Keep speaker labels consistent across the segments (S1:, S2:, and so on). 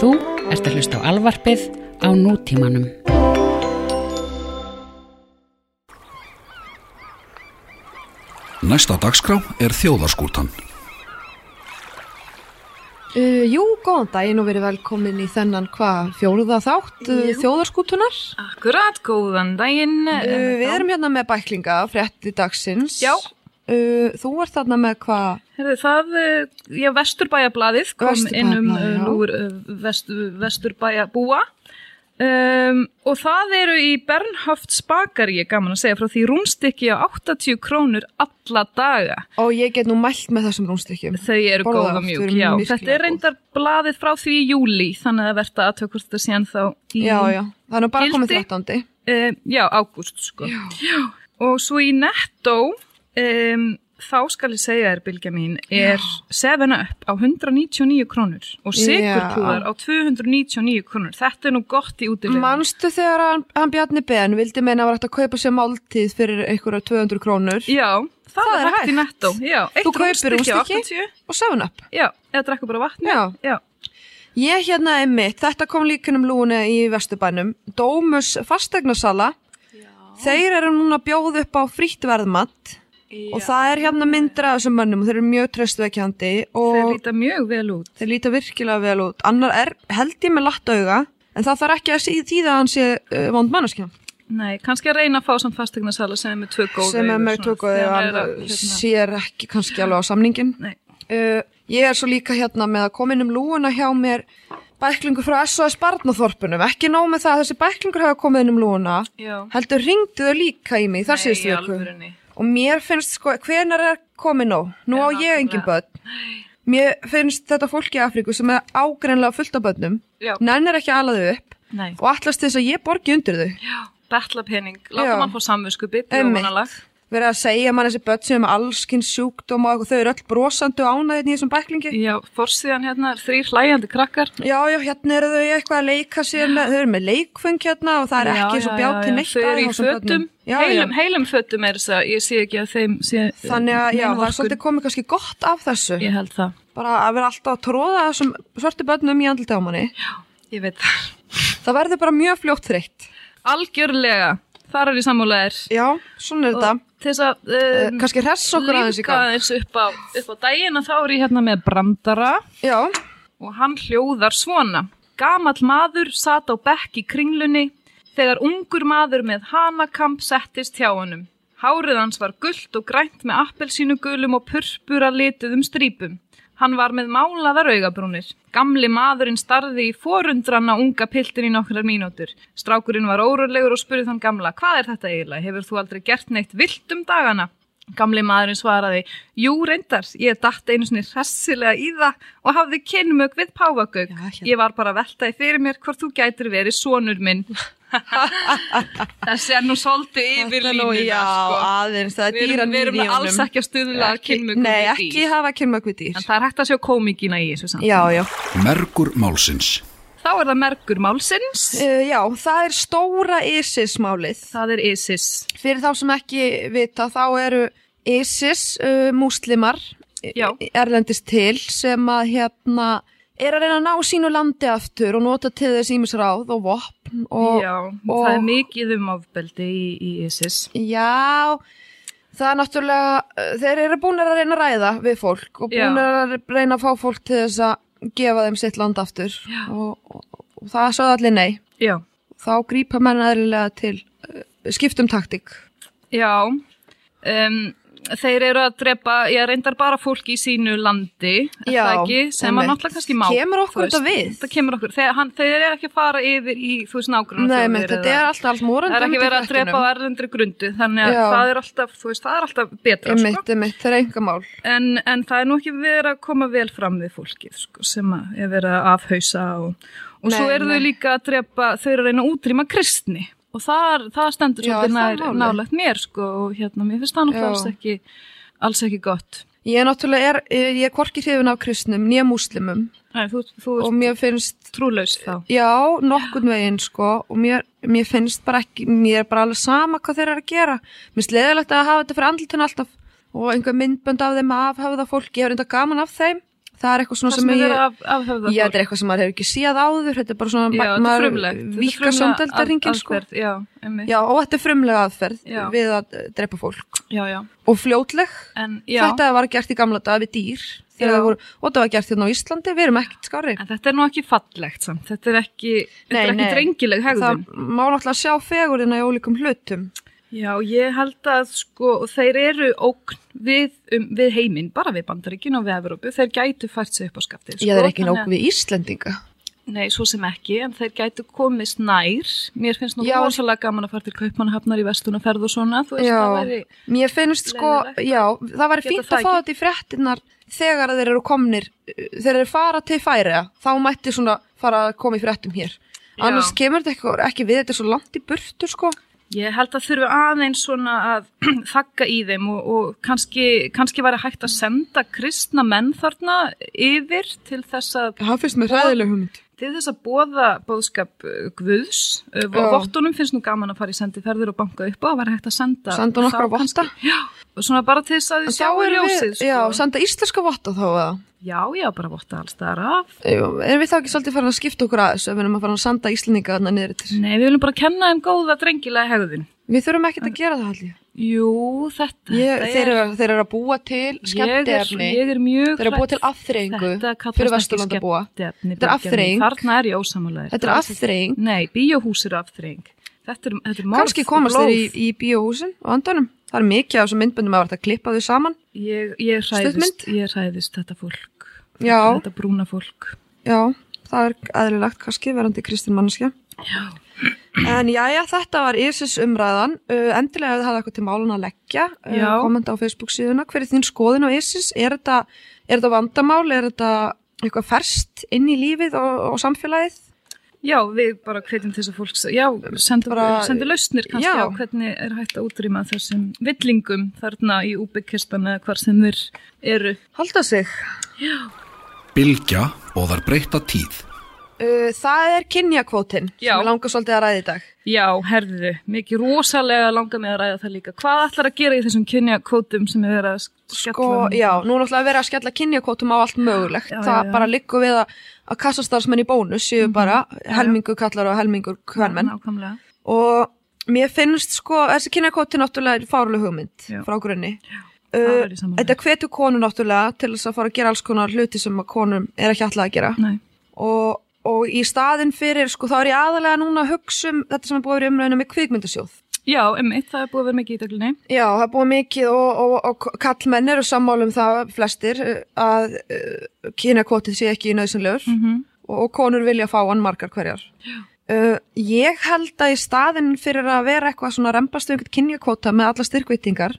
S1: Þú ert að hlusta á alvarpið á nútímanum.
S2: Næsta dagskrá er þjóðarskútan.
S3: Uh, jú, góðan daginn og verið velkomin í þennan hvað fjóruða þátt uh,
S4: Jú.
S3: þjóðarskútunar.
S4: Akkurat, góðan daginn. eh,
S3: Uh, við erum hérna með bæklinga, frétti dagsins.
S4: Já.
S3: Uh, þú ert þarna með hvað,
S4: Herðu, það, eh, já, Vesturbæjablaðið kom inn um
S3: Vesturbæjablaðið,
S4: eh,
S3: já.
S4: lúr eh, vest, Vesturbæjabúa um, og það eru í Bernhafts bakari, ég gaman að segja, frá því rúmstykki á 80 krónur alla daga.
S3: og ég get nú mælt með þessum rúnstykkjum.
S4: Þau eru
S3: Borða
S4: góð
S3: oft,
S4: og
S3: þau
S4: mjúk,
S3: eru
S4: já.
S3: virkilega
S4: Þetta er
S3: góð.
S4: reyndar blaðið frá því í júli, þannig að verða að tökast þetta síðan þá í
S3: Já, já, það er nú bara
S4: Gildi?
S3: komið þrjáttandi.
S4: Eh, já, ágúst sko. Já. Og svo í Netto, um, þá skal ég segja þér, Bilgja mín, er 7up á 199 krónur og sigurpúðar á 299 krónur. Þetta er nú gott í útilegum.
S3: Manstu þegar hann, hann Bjarni Ben vildi meina að var hægt að kaupa sér máltíð fyrir einhverja 200 krónur
S4: Já, það,
S3: Það er
S4: er hægt í
S3: hægt.
S4: Netto. Já, eitt
S3: Þú kaupir
S4: rúmstykki á
S3: rúmstykki?
S4: 80.
S3: og 7up.
S4: Já, eða drekku bara vatni.
S3: Já.
S4: já.
S3: Ég hérna einmitt, þetta kom líkunum lúna í Vesturbænum, Dómus fastegnasala, þeir eru núna að bjóða upp á frítt verðmatt og það er hérna myndir af þessum mönnum og þeir eru mjög tröstveikjandi
S4: Þeir
S3: og
S4: líta mjög vel út.
S3: þeir líta virkilega vel út. Annar er held ég með latt auga en það þarf ekki að sí- þýða að hann sé uh, vond manneskja
S4: Nei, kannski að reyna að fá samt fasteignarsala sem er með tvö góð
S3: sem er með tökkuð og hann
S4: Hérna.
S3: sér ekki kannski alveg á samningin.
S4: Nei,
S3: Uh, ég er svo líka hérna með að koma inn um lúuna hjá mér bæklingur frá SOS Barnaþorpunum ekki nóg með það að þessi bæklingur hafa komið inn um lúuna
S4: já.
S3: heldur ringdu þau líka í mig þar
S4: Nei,
S3: síðustu
S4: í
S3: viku
S4: alvörunni.
S3: og mér finnst sko hvenar er komið nóg nú
S4: Já,
S3: á ég engin
S4: nákvæmlega.
S3: börn mér finnst þetta fólk í Afríku sem er ágreinlega fullt af börnum
S4: Já.
S3: nennir ekki aðlaðu upp
S4: Nei.
S3: og allast þess að ég borgi undir þau
S4: Já, betla pening, láta
S3: Já.
S4: mann fá samvinsku bit
S3: Einmitt.
S4: jónalag.
S3: verið að segja mann þessi börn sem er með allskins sjúkdóma og eitthvað, þau eru öll brosandi og ánæðin í þessum bæklingi
S4: Já, forsíðan hérna er þrýr hlæjandi krakkar.
S3: Já, já, hérna eru þau eitthvað að leika sér með, þau eru með leikfeng hérna og það er
S4: Já,
S3: ekki svo
S4: já,
S3: bjátt
S4: já,
S3: til
S4: já.
S3: neitt
S4: Þau
S3: að
S4: eru í
S3: þessum
S4: fötum,
S3: börnum. já,
S4: heilum,
S3: já.
S4: heilum fötum er þess að ég sé ekki að þeim sé...
S3: Þannig að, já,
S4: nein
S3: það er
S4: vorkunn.
S3: svolítið komið kannski gott af þessu.
S4: Ég held það,
S3: Bara að vera alltaf að tróða þessum svörtu börnum í andlita á manni.
S4: ég veit það.
S3: Það verður bara mjög fljótt þreytt.
S4: Algjörlega, þar er ég sammálaðir.
S3: Já, svona er þetta.
S4: Til þess að...
S3: Eh,
S4: Um,
S3: Kannski hress okkur aðeins í
S4: Líka
S3: gang.
S4: aðeins upp á, upp á daginn að þá er ég hérna með brandara
S3: Já,
S4: og hann hljóðar svona. Gamall maður sat á bekk í kringlunni þegar ungur maður með hanakamp settist hjá honum. Hárið hans var gullt og grænt með appelsínugulum og purpura lituðum strípum. Hann var með málaðar augabrúnir. Gamli maðurinn starði í forundranna unga piltin í nokkrar mínútur. Strákurinn var órulegur og spurði þann gamla, hvað er þetta eiginlega? Hefur þú aldrei gert neitt vilt um dagana? Gamli maðurinn svaraði, jú reyndar, ég datt einu sinni hressilega í það og hafði kynmög við páfagauk.
S3: Já, hérna.
S4: Ég var bara að velta í fyrir mér hvort þú gætir verið sonur minn. Þessi er nú svolítið yfir
S3: Þetta er nú- já,
S4: línuna, sko.
S3: aðeins, það er
S4: Við
S3: dýra
S4: erum, við erum
S3: nýðjónum.
S4: alls ekki að stuðla að kynmögum
S3: Nei,
S4: við
S3: ekki
S4: dýr.
S3: hafa kynmög við dýr.
S4: En það er hægt að sjá komíkina í þessu samt.
S3: Já, já.
S2: Mergur málsins.
S4: Þá er það mergur málsins.
S3: Eh, Já, það er stóra ISIS-málið.
S4: Það er ISIS.
S3: Fyrir þá sem ekki vita, þá eru ISIS uh, múslimar
S4: Já.
S3: eh, erlendist til sem að hérna er að reyna að ná sínu landi aftur og nota til þess ímisráð og vopn og
S4: já,
S3: og-
S4: það er mikið um ofbeldi í, í ISIS.
S3: Já, það er náttúrulega, eh, þeir eru búin að reyna að ræða við fólk og búin að reyna að fá fólk til þess að gefa þeim sitt land aftur og, og, og það sagði allir nei.
S4: Já.
S3: Þá grípa menn aðrilega til uh, skiptum taktík.
S4: Já, um, þeir eru að drepa, ég reyndar bara fólk í sínu landi, er
S3: Já,
S4: það ekki, sem að
S3: einmitt.
S4: náttúrulega kannski má.
S3: Kemur okkur
S4: þú veist.
S3: þetta við?
S4: Það kemur okkur, þeir, hann, þeir eru ekki að fara yfir í, þú veist, nágrunum.
S3: Nei, menn, þetta er allt allt morandi.
S4: Það er ekki verið að drepa á erlendri grundu, þannig að
S3: Já.
S4: það er alltaf, þú veist, það er alltaf betra,
S3: Einmitt, einmitt, það er engamál.
S4: sko. En, en það er nú ekki verið að koma vel fram við fólkið, sko, sem að er verið að afhausa og, og
S3: Nei,
S4: svo eru
S3: nei.
S4: þau líka að drepa, þau eru að reyna að útrýma kristni og þar, það stendur
S3: Já,
S4: svolítið
S3: það er
S4: nær,
S3: málið.
S4: nálegt mér, sko, og hérna, mér finnst það
S3: Já.
S4: náttúrulega alls ekki, alls ekki gott.
S3: Ég er náttúrulega, er, ég er hvorki hrifin af kristnum, nýja múslimum
S4: Nei, þú, þú
S3: og
S4: ert
S3: mér finnst,
S4: trúlaus þá.
S3: já, nokkurn veginn sko og mér, mér finnst bara ekki, mér er bara alveg sama hvað þeir eru að gera. Mér finnst leðilegt að hafa þetta fyrir andlutin alltaf og einhver myndbönd af þeim af hafa það fólki, ég hef reynda gaman af þeim. það er eitthvað svona
S4: það
S3: sem,
S4: sem
S3: ég
S4: er af, af höfða
S3: já, þetta er eitthvað sem maður hefur ekki séð áður þetta er bara svona,
S4: já, þetta er frumlegt
S3: maður vikar samdeldarringin sko.
S4: aðferð, já, emmi já,
S3: já, og þetta er frumlega aðferð
S4: Já.
S3: við að eh, drepa fólk
S4: já, já.
S3: og fljótleg,
S4: En, já.
S3: þetta var gert í gamla daga við dýr
S4: Já.
S3: þegar það voru, og þetta var gert hérna á Íslandi við erum ekkert skári
S4: en þetta er nú ekki fallegt samt þetta er ekki, þetta
S3: Nei,
S4: er ekki
S3: nei.
S4: drengileg
S3: það
S4: hegðun
S3: má náttúrulega sjá fegurina í ólíkum hlutum
S4: já, ég held að sko þeir eru ógn við, um, við heiminn bara við bandaríkin og við Evrópu þeir gætu fært sig upp á skaftið sko,
S3: Já, það er ekki
S4: þannig
S3: nóg
S4: að-
S3: við Íslendinga.
S4: Nei, svo sem ekki, en þeir gætu komist nær. Mér finnst nú
S3: Já.
S4: rosalega gaman að fara til Kaupmannahafnar í vestunaferð og svona, þú veist,
S3: Já.
S4: það væri...
S3: Mér finnst sko,
S4: Leiðinlegt.
S3: já, það væri
S4: Geta
S3: fínt
S4: það
S3: að fá
S4: ekki.
S3: þetta í fréttinnar þegar þeir eru komnir, uh, þeir eru fara til færiða, þá mætti svona fara að koma í fréttum hér.
S4: Já.
S3: Annars kemur þetta ekki, ekki við, þetta er svo langt í burtu sko.
S4: Ég held að þurfi aðeins svona að þakka í þeim og, og kannski, kannski væri hægt að senda kristna menn þarna yfir til þess að,
S3: Það finnst mér
S4: hræðileg
S3: hugmynd.
S4: til þess að bóða bóðskap uh, guðs. Uh,
S3: Já.
S4: Vottunum finnst nú gaman að fara í sendiferðir og banka upp á og væri hægt að senda.
S3: Senda nokkra
S4: þá
S3: votta.
S4: kannski- Já, og svona bara til þess að þið
S3: Þá
S4: sjáu
S3: erum við,
S4: ljósið. Sko.
S3: já, senda íslenska votta þá eða.
S4: já, já, bara votta alls þar af.
S3: Jú, Erum við þá ekki svolítið farin að skipta okkur aðeins ef við erum að fara að senda íslendinga þarna niður yttir?
S4: Nei, við viljum bara kenna þeim góða drengilega hegðun.
S3: Við þurfum ekkert að gera það allir.
S4: Jú, þetta,
S3: Ég,
S4: þetta
S3: þeir, eru, þeir eru að búa til skemmtefni.
S4: Ég er, ég er mjög
S3: Þeir eru að búa til
S4: hrædd-
S3: afþreyingu
S4: Þetta kallast
S3: fyrir
S4: ekki
S3: Vesturlandabúa. Þetta er
S4: skemmtiefni, Björg, en
S3: afþreying.
S4: Þarna er ég ósamalega
S3: Þetta er afþreying.
S4: Nei, bíóhús eru afþreying Þetta er, þetta er morð
S3: Kanski komast
S4: og
S3: þeir
S4: blóð.
S3: í, í bíóhúsin og andanum. Það er mikið af þessum myndböndum að verða að klippa þau saman.
S4: Ég, ég hræðist,
S3: Stuttmynd.
S4: ég hræðist þetta fólk
S3: Já.
S4: Þetta brúna fólk
S3: Já, það er eðlilegt kannski verandi kristin manneskja.
S4: Já,
S3: En já, já, þetta var Isis umræðan. Uh, endilega ef þið hafði eitthvað til málun að leggja. Uh,
S4: Já.
S3: kommenta á Facebook síðuna. Hver er þín skoðin á Isis? Er þetta, er þetta vandamál? Er þetta eitthvað ferst inn í lífið og, og samfélagið?
S4: já við bara hvetjum til þess að fólk Já, sendu,
S3: Bara-
S4: sendu lausnir kannski
S3: Já.
S4: á hvernig er hægt að útrýma þessum villingum þarna í úbyggkistan eða hvar sem þeir eru
S3: Halda sig.
S2: Bylgja og þar breyta tíð.
S3: Uh, það er kynjakvótin
S4: Já.
S3: sem við langar svolítið að ræði í dag.
S4: Já, herðu, mikið rosalega langar mig að ræða það líka. Hvað ætlar að gera í þessum kynjakvótum sem er verið að skella?
S3: sko, já, nú er náttúrulega verið að skella kynjakvótum á allt mögulegt,
S4: Já,
S3: það
S4: já, Mhm. já.
S3: bara liggur við að, að kassastarfsmenn í bónus séu bara helmingur kallar og helmingur hvernmenn
S4: Nákvæmlega.
S3: og mér finnst sko, þessi kynjakvóti náttúrulega er fárlega hugmynd
S4: Já.
S3: frá grunni
S4: það
S3: Uh,
S4: er ég sammála.
S3: þetta hvetur konu náttúrulega til þess að fara að gera alls konar hluti sem að konum er ekki alltaf að gera
S4: Nei,
S3: og, og í staðin fyrir sko þá er ég aðalega núna að hugsa um þetta sem er búið að vera umræðinu með kvikmyndasjóð
S4: já, emmitt, það er búið að vera mikið í daglinni.
S3: Já, það er búið mikið og, og, og kallmenn eru sammála um það flestir eh, að uh, kynakvotið sé ekki nöðsynlegur
S4: Mm
S3: og, og konur vilja fá hann margar hverjar. Uh, ég held að í staðinn fyrir að vera eitthvað svona rembast um einhvern kynjakvota með alla styrkveitingar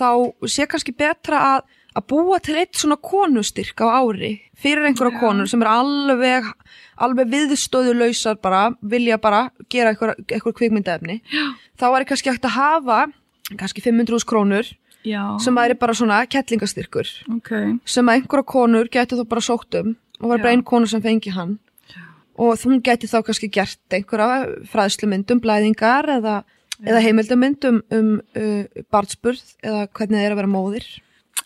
S3: þá sé kannski betra að, að búa til eitt svona konustyrk á ári fyrir einhverja konur sem er alveg, alveg viðstöðulausar bara, vilja bara gera einhver, einhver kvikmyndaefni. Já. Þá er kannski hægt að hafa kannski 500.000 krónur
S4: Já,
S3: sem væri bara svona kettlingastyrkur
S4: ok.
S3: sem að einhverja konur gæti þá bara sótt um og var bara
S4: Já.
S3: einn konur sem fengi hann og hún gæti þá kannski gert einhverja fræðslumyndum, blæðingar eða, eða heimildamyndum um uh, barnsburð eða hvernig það er að vera móðir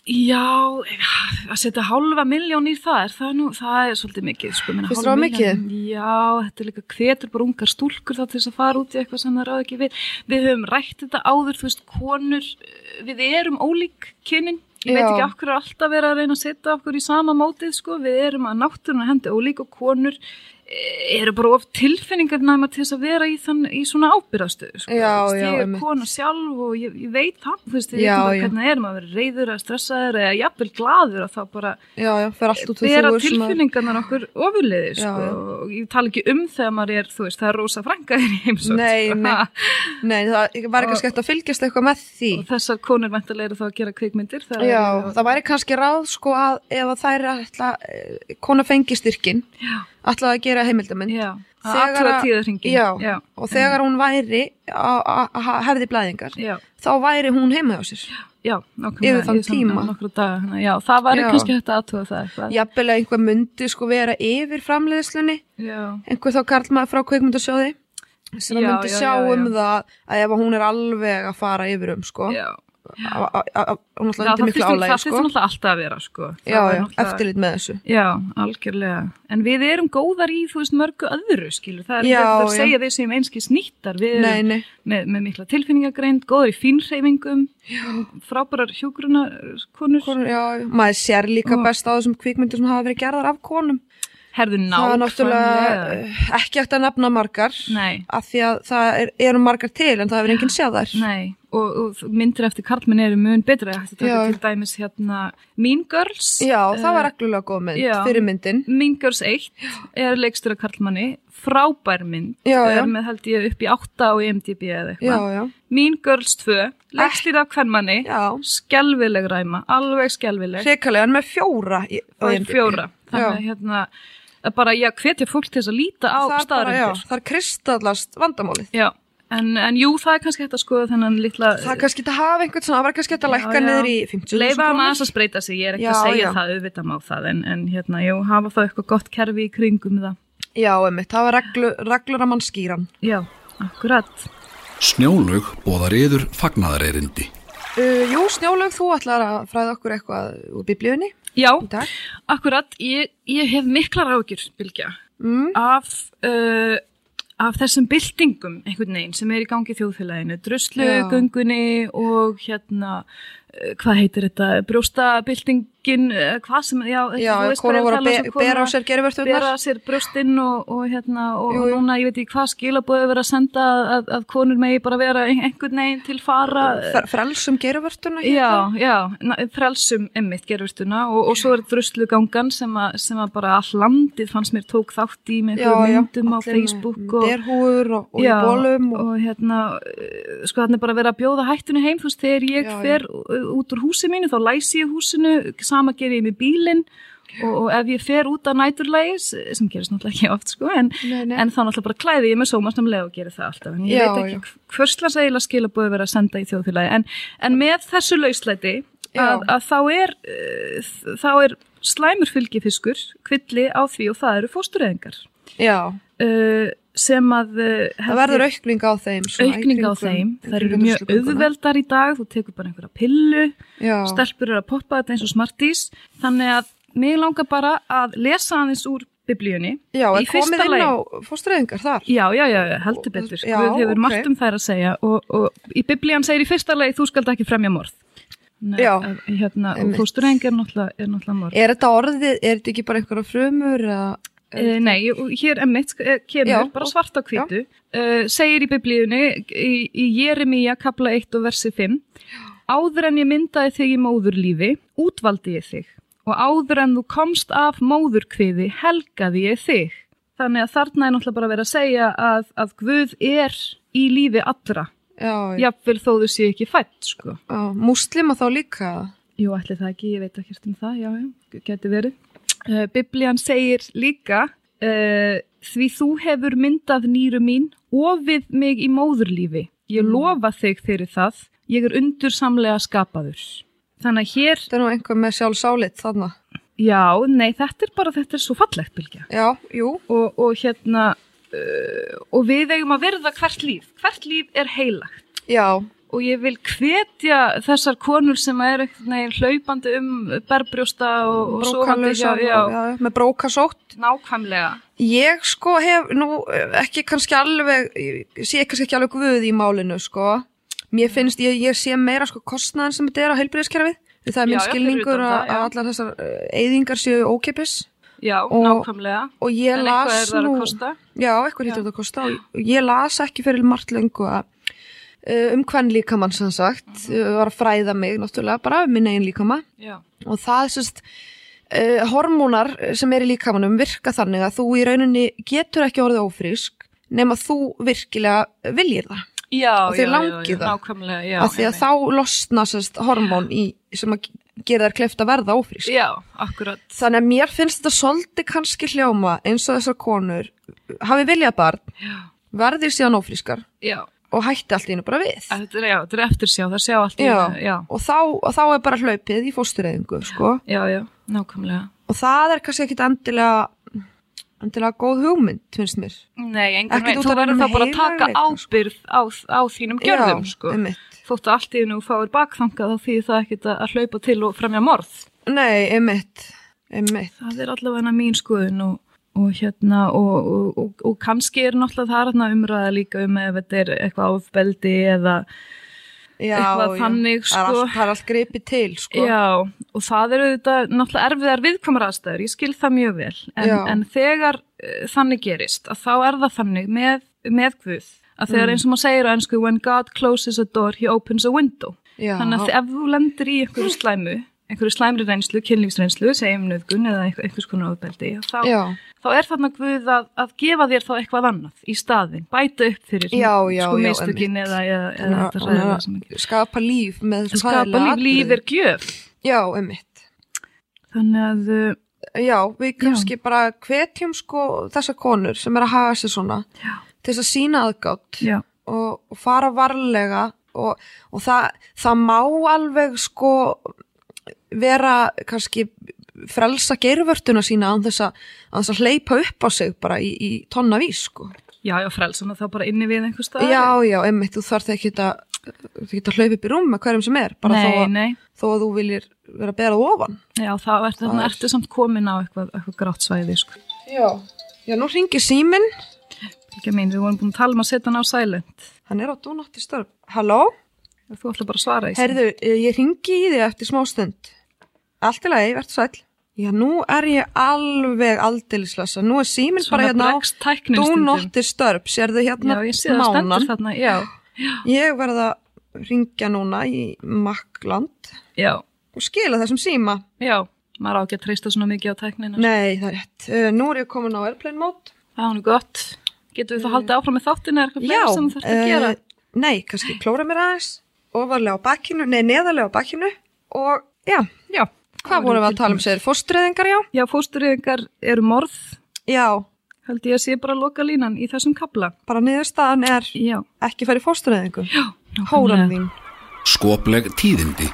S4: Já, að setja hálfa miljón í það, er það nú, það er svolítið mikið, sko. meina,
S3: Finnst
S4: hálf
S3: þér það
S4: milljón- Já, þetta er líka hvetur bara ungar stúlkur þá til þess að fara út í eitthvað sem það ráð ekki við. Við höfum rætt þetta áður, þú veist, konur, eh, við erum ólík kynin. Ég veit
S3: Já.
S4: ekki af hverju er alltaf verið að reyna að setja okkur í sama mótið, sko. Við erum að náttúruna hendi ólík og konur eh, eru bara of tilfinningar næma til þess að vera í, þann, í svona ábyrðastöðu, sko.
S3: Já,
S4: Þú veist,
S3: já,
S4: Ég er
S3: einmitt.
S4: kona sjálf og ég, ég veit það, þú veist, ég
S3: Já,
S4: veit bara
S3: já.
S4: hvernig það er maður verið reyður að stressaður eða jafnvel glaður að þá bara
S3: Já, já, fer allt út úr
S4: bera
S3: þúfur sem að-
S4: tilfinningarnar okkur ofurliði
S3: Já,
S4: sko.
S3: já.
S4: og ég tala ekki um þegar maður er þú veist, það er rosa frænga þér í heimsótt
S3: Nei,
S4: sko.
S3: nei. Nei, það væri
S4: Og-
S3: kannski hægt að fylgjast eitthvað með því
S4: og þessar konur vantarlega eru þá að gera kvikmyndir það
S3: Já,
S4: er,
S3: það væri kannski ráð sko að ef að þær ætla, eh, kona fengi styrkin
S4: já,
S3: ætlaði að gera heimildamynd
S4: já, að
S3: Þegar
S4: aðtúa
S3: að-
S4: tíðarhringin
S3: Já,
S4: já,
S3: og þegar hún væri að að- að hefði blæðingar
S4: já,
S3: þá væri hún heima hjá sér
S4: já, nákvæmlega,
S3: Yfir þann
S4: ég sam-
S3: tíma.
S4: nokkra daga, þannig að já, það var
S3: Já.
S4: kannski hægt að aðtúa það eitthvað
S3: jafnvel að einhver myndi sko vera yfir framleiðslunni
S4: já,
S3: einhver þá karlmaður frá kveikmyndasjóði sem
S4: Já,
S3: myndi
S4: já,
S3: sjá
S4: já, já.
S3: um það að ef að hún er alveg að fara yfir um sko
S4: já,
S3: a- a- a- a- hún
S4: Já,
S3: alltaf
S4: það
S3: undir miklu
S4: þyrfti
S3: álægi
S4: sko.
S3: sko.
S4: náttúrulega alltaf að vera sko. Það
S3: já,
S4: er
S3: já,
S4: náttúrulega-
S3: eftirlit með þessu
S4: Já, algjörlega. En við erum góðar í, þú veist, mörgu öðru, skilur. Það er
S3: Já,
S4: ekki hægt að
S3: já.
S4: segja við sem einskis nýttar. Við erum
S3: nei, nei,
S4: með, með mikla tilfinningagreind, góðar í fínreifingum, frábærar hjúgrunarkonur.
S3: konur, já, já. maður sér líka
S4: Og-
S3: best á þessum kvikmyndir sem hafa verið gerðar af konum
S4: Herðu
S3: það er
S4: nákvæmlega.
S3: náttúrulega eh, ekki eftir að nefna margar
S4: Nei,
S3: af því að það er, eru margar til en það hefur enginn séð þær
S4: nei. Og, og myndir eftir karlmenn eru mun betra. Ég ætti að taka
S3: Já.
S4: til dæmis hérna Mean Girls.
S3: já, það
S4: Eh,
S3: var reglulega góð mynd,
S4: já.
S3: fyrir myndin
S4: Mean Girls 1 er leikstur af karlmanni, frábær mynd,
S3: Já, já.
S4: er með held ég upp í 8 á E IMDb eða
S3: já,
S4: eitthvað.
S3: já,
S4: Mean Girls 2, leikstur af kvennmanni,
S3: já
S4: skelvileg ræma, alveg skelvileg,
S3: hrikalega, en með fjóra í, á
S4: það er
S3: IMDb.
S4: fjóra. Þannig
S3: Já.
S4: að hérna, að bara ég hvetja fólk til þess að líta á
S3: það er bara, já,
S4: staðarindur.
S3: það er kristallast vandamálið
S4: Já, en, en jú, það er kannski hægt að skoða þennan litla...
S3: það er kannski þetta hafa einhvern svona, það var kannski þetta lækka
S4: já.
S3: niður í 50
S4: Leifa hann aðeins að spreita sig, ég er ekki
S3: Já,
S4: að segja
S3: já.
S4: það, auðvitað má það, en, en hérna, jú, hafa það eitthvað gott kerfi í kringum það.
S3: já, emmitt, það var reglu, reglur að mann skýran
S4: Já, akkurat.
S2: Snjólaug boðar yður fagnaðarerindi.
S3: uh, Jú, Snjólaug, þú ætlar að fræða okkur eitthvað úr biblíunni
S4: Já,
S3: í dag
S4: Akkurat, ég, ég hef miklar ágjur, Bilgja,
S3: mm,
S4: af, uh, af þessum byltingum einhvern veginn sem er í gangi í þjóðfélaginu,
S3: Já.
S4: druslugöngunni og hérna, uh, hvað heitir þetta, brjóstabyltingin, uh, hvað sem, já,
S3: Já,
S4: þú veist hvað
S3: konar
S4: ég
S3: voru að
S4: er að tala um,
S3: be-
S4: svo
S3: bera á
S4: konar-
S3: sér gerðvörtunar
S4: bera sér brjóstinn og, og hérna og
S3: Jú, jú.
S4: núna ég veit ekki hvað skilabóðu verið að senda að, að, að konur megi bara vera ein- einhvern veginn til fara
S3: frelsum hérna. gerðvörtuna
S4: Já, já, na- frelsum emmitt gerurtuna og, og svo er druslugangan sem, að- sem að bara all landið fannst mér tók þátt í með einhverjum myndum á Facebook og,
S3: derhúður og, og í bólum og,
S4: og hérna, eh, sko þarna er bara verið að bjóða hættunni heim, þú veist, þegar ég
S3: Já,
S4: fer eh, út úr húsi mínu, þá læsi ég húsinu, sama ger ég með bílinn og, og ef ég fer út að næturlægis, eh, sem gerist náttúrulega ekki oft, sko, en,
S3: Nei, nei.
S4: en þá náttúrulega bara klæði ég mig sómastamlega og geri það alltaf, en ég
S3: Já,
S4: veit ekki hverslas eiginlega skilabóði verið að senda í þjóðfélagi, en, en með þessu lauslæti
S3: Já.
S4: að, að þá er, eh, þá er slæmur fylgifiskur, kvilli á því og það eru fóstureyðingar.
S3: já,
S4: Uh, sem að uh,
S3: það verður aukning á þeim svona, í
S4: aukning á
S3: kringum-
S4: þeim,
S3: í
S4: það eru
S3: kringum
S4: mjög
S3: druslugönguna.
S4: auðveldar í dag, þú tekur bara einhverja pillu,
S3: já,
S4: stelpur eru að poppa þetta eins og smartís, þannig að mig langar bara að lesa aðeins úr biblíunni.
S3: já,
S4: Í
S3: er komið
S4: fyrsta
S3: inn
S4: lagi-
S3: á fóstræðingar þar
S4: Já, já, já, já, heldur betur,
S3: Já,
S4: Guð hefur
S3: ok.
S4: margt um þær að segja og, og í biblían segir í fyrsta leið þú skalt ekki fremja morð. Nei,
S3: Já,
S4: að- hérna, og
S3: einmitt.
S4: fósturheng er náttúrulega, er náttúrulega morð.
S3: er þetta orðið, er þetta ekki bara einhverja frumur eða
S4: Uh, nei, og hér emmitt eh, kemur
S3: Já.
S4: bara svart á hvítu, uh, segir í biblíunni í, í Jeremia kapla 1 og versi 5 Áður en ég myndaði þig í móðurlífi, útvaldi ég þig og áður en þú komst af móðurkviði, helgaði ég þig. Þannig að þarna er náttúrulega bara verið að segja að, að Guð er í lífi allra,
S3: já, já.
S4: jafnvel þó þau séu ekki fætt, sko.
S3: já, múslima þá líka
S4: Jú, ætli það ekki, ég veit ekki um það, já, já, geti verið. Uh, Biblian segir líka, uh, því þú hefur myndað nýru mín og við mig í móðurlífi. Ég lofa þig fyrir það, ég er undursamlega skapaður. Þannig að hér,
S3: þetta er nú einhver með sjálfsálit þarna
S4: já, nei, þetta er bara, þetta er svo fallegt, Bilgja.
S3: já, jú,
S4: Og, og hérna, uh, og við eigum að verða hvert líf. Hvert líf er heilagt.
S3: já,
S4: og ég vil hvetja þessar konur sem er einhvern veginn hlaupandi um berbrjósta og, og sofandi hjá,
S3: brókarlausar
S4: já,
S3: og- já, já, með brókasótt
S4: nákvæmlega
S3: Ég sko hef nú eh, ekki kannski alveg, ég sé kannski ekki alveg guð í málinu sko. Mér finnst, ég, ég sé meira sko kostnaðan sem þetta er á heilbriðiskerfið. Það er
S4: Já,
S3: minn
S4: já, fyrir
S3: skilningur
S4: utan
S3: að,
S4: það, já.
S3: að allar þessar eh, eyðingar séu ókipis.
S4: já,
S3: Og-
S4: nákvæmlega
S3: Og ég
S4: en eitthvað er
S3: las
S4: það
S3: nú,
S4: að kosta
S3: já, eitthvað hittur þetta að kosta. Og ég las ekki fyrir margt lengu að eh, um hvern líkamann sem sagt, mm var að fræða mig náttúrulega bara um minn eigin líkama
S4: já,
S3: og það sérst uh, hormónar sem er í líkamanum virka þannig að þú í rauninni getur ekki orðið ófrísk nema þú virkilega viljir það
S4: já,
S3: Og
S4: já,
S3: þeir
S4: já,
S3: langi
S4: já,
S3: það.
S4: nákvæmlega já,
S3: af því að
S4: einmitt.
S3: þá losna sérst hormón í, sem að gera þær kleft að verða ófrísk
S4: já, akkurat
S3: þannig að mér finnst þetta svolítið kannski hljóma eins og þessar konur hafi viljað barn,
S4: já,
S3: verðir síðan ófrískar
S4: já,
S3: og hætti allt í einu bara við
S4: þetta er, já, þetta er eftirsjá það sjá allt í
S3: Já.
S4: einu, já,
S3: og þá, og þá er bara hlaupið í fóstureyðingu sko.
S4: já, já, nákvæmlega
S3: og það er kannski ekkit endilega endilega góð hugmynd finnst mér
S4: Nei, engan
S3: Ekkert
S4: veginn,
S3: út
S4: þú
S3: af
S4: verður
S3: einum
S4: þá bara að taka
S3: heilaga leik,
S4: ábyrgð á, á þínum gjörðum,
S3: sko? Já,
S4: sko.
S3: einmitt.
S4: þóttu allt í hennu fáir bakþangað þá þýðir það ekkit að- að hlaupa til og fremja morð.
S3: Nei, einmitt, einmitt.
S4: Það er allavega mín skoðun og, og hérna og, og, og, og kannski er náttúrulega það hérna umræða líka um ef þetta er eitthvað ofbeldi eða
S3: Já,
S4: Eitthvað
S3: já.
S4: þannig,
S3: Það er
S4: sko.
S3: allt, það er allt greipið til, sko.
S4: Já, og það eru auðvitað náttúrulega erfiðar viðkomar aðstæður, ég skil það mjög vel, en,
S3: Já.
S4: en þegar uh, þannig gerist, að þá er það þannig með, með Guð, að þegar
S3: Mm.
S4: eins og maður segir á ennsku, when God closes a door, he opens a window,
S3: Já.
S4: þannig að ef þú lendir í einhverju slæmu, einhverju slæmri reynslu, kynlífsreynslu, segjum nöðgun eða einhver- einhvers konar ofbeldi, þá,
S3: Já,
S4: þá er þarna Guð að, að gefa þér þá eitthvað annað í staðin, bæta upp fyrir
S3: Já, já,
S4: sko
S3: já,
S4: mistökin
S3: einmitt.
S4: eða, eða, eða
S3: Þannig
S4: þetta
S3: að-
S4: ræðilega sem
S3: þannig að skapa líf með þessu
S4: skapa
S3: hræðilega
S4: líf, líf er
S3: atriði.
S4: gjöf.
S3: Já, einmitt.
S4: Þannig að uh,
S3: Já, við kannski bara hvetjum sko þessar konur sem er að haga sér svona já. til þess að sína aðgátt
S4: Já,
S3: og, og fara varlega og, og það, það má alveg sko vera kannski frelsa geirvörtuna sína án þess að, án þess að hleypa upp á sig bara í, í tonna vís sko.
S4: já, já frelsuna þá bara inni við einhvers stað.
S3: Já, já, einmitt, þú þarf ekki að, þú geta að hlaupa upp í rúm með hverjum sem er, bara
S4: nei,
S3: þó, að,
S4: nei.
S3: þó að þú viljir vera að bera þú ofan.
S4: Já, þá er, þannig,
S3: er-
S4: ertu samt komin á eitthvað, eitthvað grátt svæði, sko.
S3: Já. Já, nú ringir síminn,
S4: Ekki að mín, við vorum búin að tala um að setja hann á silent.
S3: hann er á dúnátti störf. Halló?
S4: Þú ætla bara að svara í
S3: Herðu, eh, ég ringi í þig eftir smá stund. Allt í lagi, verður sæl. Já, nú er ég alveg aldeilislega, nú er síminn bara hérna á
S4: bregst tæknin stundum.
S3: dúnátti störf, sérðu
S4: Já,
S3: hérna
S4: ég sé það stendur þarna, já,
S3: Ég verð að ringja núna í Makkland
S4: já,
S3: og skila þessum síma.
S4: já. Maður á ekki að treysta svona mikið á tæknina. sko.
S3: Nei, það er rétt. Uh, nú er ég komin á airplane mode.
S4: Það er nú gott. Getur við þá haldið áfram með þáttina eða eitthvað fleira sem þú þarfst að
S3: eh,
S4: gera?
S3: nei, kannski klóra mér aðeins, ofarlega á bakkinu, nei, neðarlega á bakkinu og já,
S4: Já.
S3: hvað vorum við að tala um sér? Fórstreðingar, já?
S4: Já, fóstureyðingar eru morð,
S3: Já,
S4: held ég að sé bara loka línan í þessum kabla.
S3: bara niðurstaðan er
S4: Já.
S3: ekki færi fórstreðingu. Já, hóran þín.
S2: Skopleg tíðindi.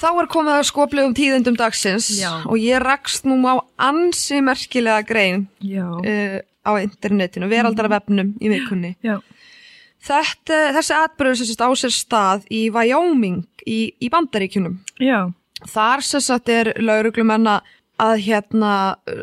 S3: Þá er komið að skoplegum tíðendum dagsins
S4: Já.
S3: og ég rakst nú á ansi merkilega grein
S4: Já.
S3: uh, á internetinu, veraldarvefnum í vikunni.
S4: Já.
S3: Þetta, þessi atbyrður sem sérst á sér stað í Wyoming í, í Bandaríkjunum.
S4: Já.
S3: Þar sem sagt er lauruglumenn að- að hérna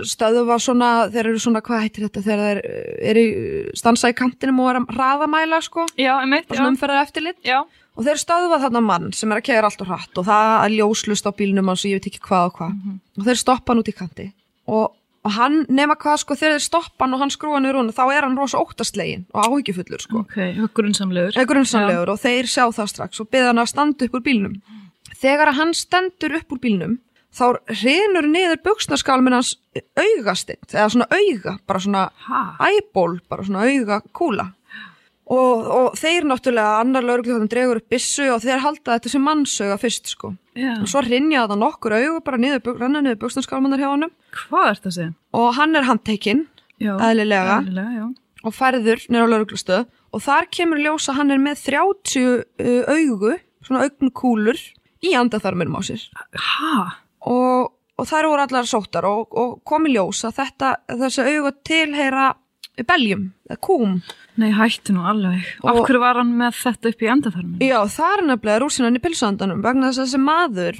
S3: stöðuva svona, þeir eru svona, hvað heitir þetta, þegar þeir eh, eru í- stansa í kantinum og er að hraðamæla sko,
S4: Já, emitt,
S3: bara svona umferðar eftirlit
S4: Já,
S3: og þeir stöðuva þarna mann sem er að keira allt og hratt og það er ljóslust á bílnum hans og ég veit ekki hvað og hvað og þeir stoppa hann út í kanti og, og hann nema hvað sko, þegar þeir stoppa hann og hann skrúa niður hún, þá er hann rosa óttastlegin og áhyggjufullur sko
S4: ok, grunsamlegur.
S3: eða grunnsamlegur og þeir sjá það strax og beða hann að standa upp úr bílnum. Þegar að hann stendur upp úr bílnum þá hrinur niður buksnaskálminn hans augastinn, eða svona auga, bara svona
S4: Ha?
S3: æból, bara svona auga kúla. Og, og þeir náttúrulega annar lögreglu þannig dregur upp byssu og þeir halda þetta sem mannsauga fyrst sko.
S4: Já.
S3: Og svo hrinja þetta nokkur augu bara niður, bug- renna niður buksnaskálminnar hjá honum
S4: Hvað ert að segja?
S3: og hann er handtekinn
S4: Já.
S3: Eðlilega.
S4: Eðlilega, já.
S3: og færður nýra á lauruglustöð og þar kemur ljós að hann er með 30 uh, augu, svona augnukúlur í andatharminum á sér
S4: Ha?
S3: og, og þær voru allar sóttar og, og komi ljós að þetta, þessi augu tilheyra beljum, eða kúm
S4: Nei, hættu nú alveg. Af
S3: Og-
S4: hverju var hann með þetta upp í endaþarminu?
S3: Já, þar nefnilega rúsinan í pilsuandanum vegna þess að þessi maður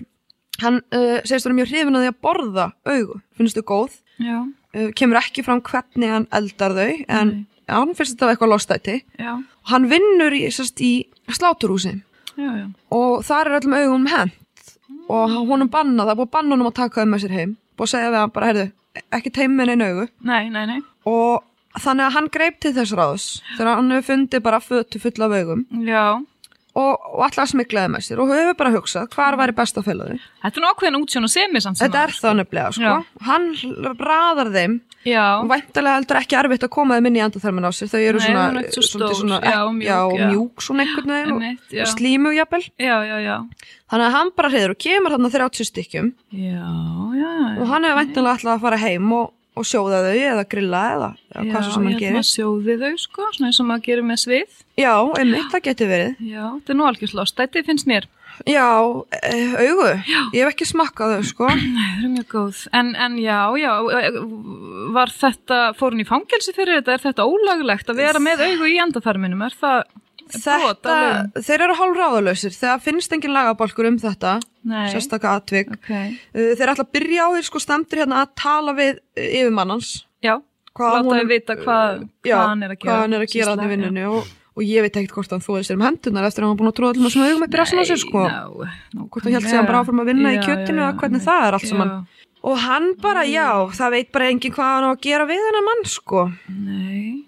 S3: hann uh, segist hann mjög hrifin að því að borða augu, finnst þau góð
S4: Já,
S3: uh, kemur ekki fram hvernig hann eldar þau en
S4: Nei.
S3: hann finnst þetta eitthvað lostæti
S4: já,
S3: og hann vinnur í, sérst, í sláturhúsi
S4: já, já.
S3: og þar er öllum augum hent og honum bannað, það er búið að banna honum að taka þau með sér heim búið að segja við hann bara, heyrðu, ekki teiminn einu augu
S4: Nei, nei, nei.
S3: og þannig að hann greip til þess ráðs þegar hann hefur fundið bara fötu full af augum
S4: Já.
S3: og, og alltaf að smiklaði með sér og hefur bara hugsað hvar væri best að fela þau
S4: Þetta er nú ákveðin útsjón og semi samt sem
S3: þetta er það nefnilega, sko
S4: Já.
S3: hann raðar þeim
S4: Já,
S3: og væntalega heldur ekki erfitt að koma þeim inn í andatharmin á sér þau eru
S4: Nei,
S3: svona,
S4: hún er ekki svo
S3: svolítið
S4: stór.
S3: svona
S4: Já, mjúk,
S3: já,
S4: já.
S3: mjúk svona einhvern veginn og-
S4: Einmitt, já.
S3: og slímug jafnvel
S4: já, já, já.
S3: þannig að hann bara hreður og kemur þarna 30 stykkjum
S4: Já, já, já.
S3: og hann hefur væntanlega alltaf að fara heim og, og sjóða þau eða grilla eða, eða hvað svo sem hann
S4: Já,
S3: gerir.
S4: maður sjóði þau, sko, svona eins og maður gerir með svið.
S3: Já, einmitt, það getur verið.
S4: Já, þetta er nú algjörslóst. Þetta finnst mér.
S3: Já, e, augu, ég hef ekki smakkað þau, sko.
S4: Nei, það er mjög góð. En, en já, já, e, var þetta, fór hann í fangelsi fyrir þetta? Er þetta ólöglegt að vera með augu í endaþarminum? Er það, brot
S3: þetta,
S4: á lögum.
S3: þeir eru hálfráðalausir þegar finnst engin lagabálkur um þetta
S4: Nei.
S3: sérstaka atvik
S4: Ok.
S3: uh, þeir ætla að byrja á því sko stemdir hérna að tala við uh, yfirmannans
S4: Já,
S3: Hvað
S4: láta
S3: honum-
S4: þau vita hvað,
S3: já,
S4: hvað hann er að gera.
S3: hvað hann er að gera hann í
S4: Sýsla,
S3: vinnunni og, og ég veit ekkert hvort hann þóði sér um hendunar eftir að hann var búin að tróða allir sem augum upp í restina á sér sko
S4: Nei, ná,
S3: hvort hann held sig hann bara áfram að vinna í
S4: Já,
S3: kjötinu
S4: já, já,
S3: eða hvernig
S4: einmitt.
S3: það er allt saman
S4: Já.
S3: og hann bara já, það veit bara engin hvað hann á að gera við hennar mann sko
S4: Nei,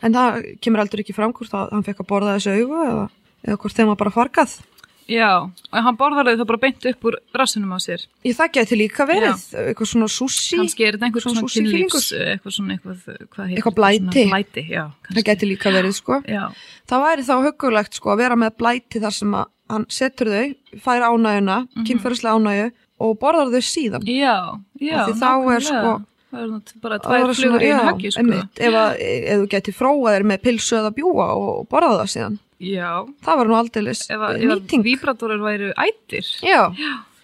S3: en það kemur aldrei ekki fram hvort að hann fekk að borða þessu augu eða, eða hvort þeim var bara fargað
S4: já, og hann borðar þau þá bara beint upp úr rassinum á sér.
S3: ég það geti líka verið, eitthvað svona sushi
S4: Kannski er þetta einhver
S3: Svona
S4: svona
S3: súsíkýlingur.
S4: kynlífs, eitthvað svona, eitthvað, hvað heitir
S3: Eitthvað
S4: þetta? Svona
S3: blæti.
S4: Blæti, já,
S3: það
S4: kannski.
S3: geti líka verið sko
S4: Já,
S3: það væri þá hugulegt sko að vera með blæti þar sem að hann setur þau fær ánægjuna, mm kynferðislega ánægju og borðar þau síðan
S4: Mhm. já, já.
S3: Af því þá er
S4: nákvæmlega.
S3: sko-
S4: Það er nú bara
S3: Það
S4: tvær
S3: var svona,
S4: flugur í einu
S3: já,
S4: höggi, sko.
S3: einmitt, ef, að, ef þú geti fróað þér með pilsu eða bjúa og, og borða það síðan
S4: Já,
S3: það var nú aldeilis
S4: ef að,
S3: eh,
S4: ef að
S3: nýting
S4: víbratorar væru ættir.
S3: já,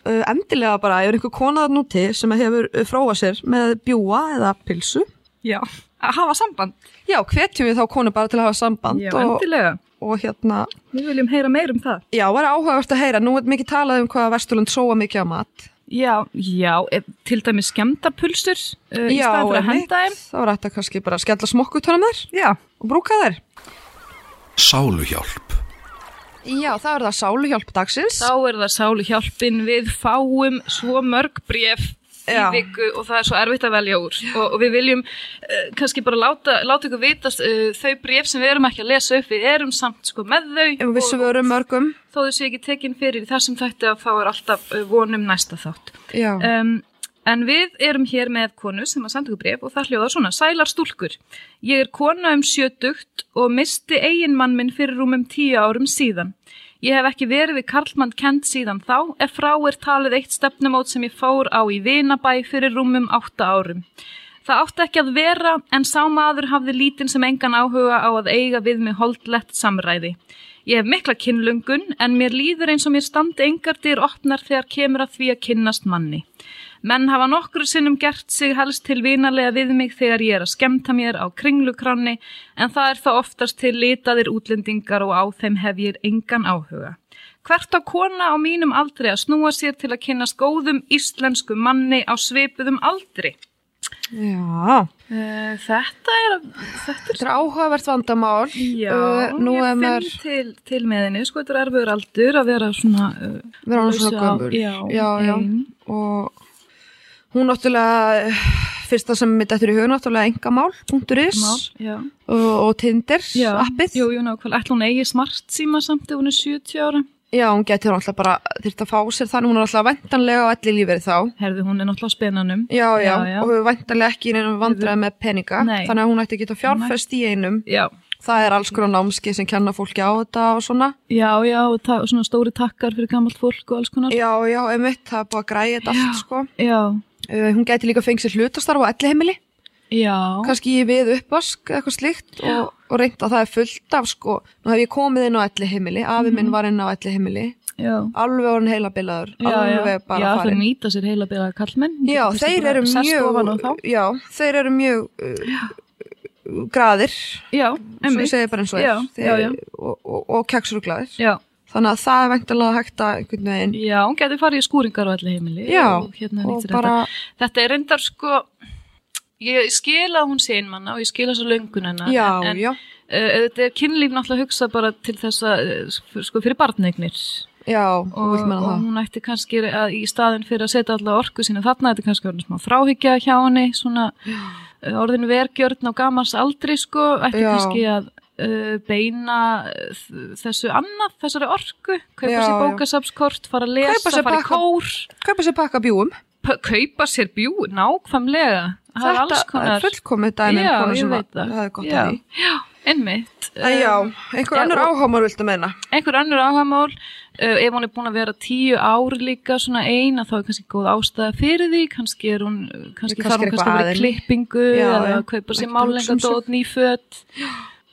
S3: Uh, endilega bara, ef er einhver kona þar núti sem hefur uh, fróað sér með bjúa eða pilsu
S4: Já, að hafa samband.
S3: já, hvetjum við þá konu bara til að hafa samband
S4: Já,
S3: og,
S4: endilega.
S3: og hérna
S4: Við viljum heyra meir um það.
S3: já, var áhugavert að heyra, nú er mikið talað um hvað Vesturlund sóa mikið á mat
S4: Já, já, ef, til dæmi skemdarpulsur uh, í
S3: já,
S4: staðan fyrir að
S3: einmitt.
S4: henda þeim.
S3: þá var þetta kannski bara að skella smokkutunum þær
S4: Já,
S3: og brúka þær
S2: Sáluhjálp.
S3: já, það er það sáluhjálp dagsins
S4: þá er það sálu hjálpin við fáum svo mörg bref í
S3: Já.
S4: viku og það er svo erfitt að velja úr og, og við viljum uh, kannski bara láta, láta ykkur vitast uh, þau bref sem við erum ekki að lesa upp, við erum samt sko með þau
S3: ef við
S4: og,
S3: svörum mörgum
S4: og þó þessu ekki tekin fyrir í þessum þætti að þá er alltaf uh, vonum næsta þátt
S3: já,
S4: Um, en við erum hér með konu sem að senda ykkur bref og það hljóðar svona, sælar stúlkur. Ég er kona um sjötugt og misti eiginmann minn fyrir rúmum tíu árum síðan. Ég hef ekki verið við Karlmann kent síðan þá, ef frá er talið eitt stefnumót sem ég fór á í Vinabæ fyrir rúmum átta árum. Það átti ekki að vera en sá maður hafði lítinn sem engan áhuga á að eiga við mig holdlett samræði. Ég hef mikla kynlungun en mér líður eins og mér standi engar dyr opnar þegar kemur að því að kynnast manni. Menn hafa nokkru sinnum gert sig helst til vinalega við mig þegar ég er að skemta mér á kringlukranni en það er þá oftast til litaðir útlendingar og á þeim hef ég engan áhuga. Hvert á kona á mínum aldri að snúa sér til að kynnast góðum íslensku manni á svipuðum aldri?
S3: já.
S4: Uh, þetta er þetta er
S3: Þetta Eh, er áhugavert vandamál.
S4: já,
S3: Uh, nú
S4: ég
S3: er
S4: finn
S3: maður,
S4: til, til meðinni sko, þetta er erfiður aldur að vera svona uh,
S3: við erum svona
S4: laus á-
S3: gömul.
S4: já,
S3: já. já.
S4: ein.
S3: Og hún náttúrulega, eh, fyrsta sem mitt eftir í hugun náttúrulega engamál.is
S4: mál, já,
S3: og, og Tinder
S4: já
S3: appið.
S4: jú, jú, nákvæmlega, ætla hún eigi smart síma samt ef hún er 70 ára
S3: Já, hún getur náttúrulega bara þurft að fá sér þannig, hún er náttúrulega væntanlega á elli lífið þá.
S4: herði hún er náttúrulega á spenanum
S3: Já, já,
S4: Já, já.
S3: og hefur væntanlega ekki í neinum vandræði með peninga,
S4: Nei.
S3: þannig að hún ætti að geta fjárfest í einum.
S4: já,
S3: Það er alls konar námski sem kenna fólki á þetta og svona.
S4: já, já og ta- svona stóri takkar fyrir gamalt fólk og alls konar
S3: Já, já, emitt, það er búið að græja þetta allt, sko.
S4: já,
S3: Uh, hún gæti líka fengið sér hlutastarf á elli heimili.
S4: já,
S3: kannski við uppvask eitthvað slíkt og, og reynt að það er fullt af sko, nú hef ég komið inn á elli heimili afi minn var inn á elli heimili
S4: já.
S3: alveg orðin heila bilaður,
S4: Mhm. Já, já,
S3: alveg bara
S4: já, þau
S3: farin
S4: nýta sér heila byrða kallmenn
S3: já, þeir eru mjög já, þeir eru mjög uh, graðir
S4: já,
S3: sem
S4: einmitt
S3: ég segi bara eins og er
S4: Já, já, já.
S3: og, og, og keksruglaðir
S4: já,
S3: þannig að það er veintilega hægt að einhvern veginn
S4: Já, hún getur farið í skúringar á allir heimili
S3: Já,
S4: og hérna
S3: og
S4: nýttir
S3: bara,
S4: þetta. Þetta er reyndar sko, ég skil að hún sé einmanna og ég skil þess að löngun hennar.
S3: já,
S4: en, en,
S3: já,
S4: Uh, þetta er kynlíf náttúrulega hugsað bara til þess að, uh, sko, fyrir barneignir.
S3: já, og
S4: Og,
S3: vill menna
S4: og
S3: það
S4: hún ætti kannski að í staðin fyrir að setja alla orku sína þarna, þetta er kannski orðin smá fráhyggja hjá henni, svona uh, orðin vergjörn á gamars aldri, sko, ætti
S3: Já.
S4: kannski að uh, beina uh, þessu annað, þessari orku, kaupa
S3: Já,
S4: sér
S3: já.
S4: bókasapskort, fara að
S3: Kaupa
S4: lesa,
S3: sér
S4: fara í
S3: pakka-
S4: kór.
S3: kaupa sér pakka bjúum
S4: p- kaupa sér bjú, nákvæmlega Það er alls
S3: þetta
S4: konar
S3: er fullkomið dæmi um
S4: Já,
S3: konu
S4: ég
S3: sem
S4: veit
S3: að-
S4: það.
S3: það er gott
S4: Já.
S3: að því
S4: einmitt
S3: En
S4: Eh,
S3: já, einhver
S4: já,
S3: annar
S4: og-
S3: áhámar viltu meina.
S4: einhver annur áhagamál uh, ef hún er búin að vera tíu ár líka svona eina þá er kannski góð ástæða fyrir því kannski er hún eh, kannski
S3: Kannski
S4: þarf
S3: er
S4: hún kannski
S3: eitthvað
S4: að vera í
S3: að henni.
S4: klippingu
S3: Já,
S4: eða
S3: já.
S4: að kaupa sér
S3: Ekkert að hugsa um
S4: málenga
S3: sig.
S4: dót nýföt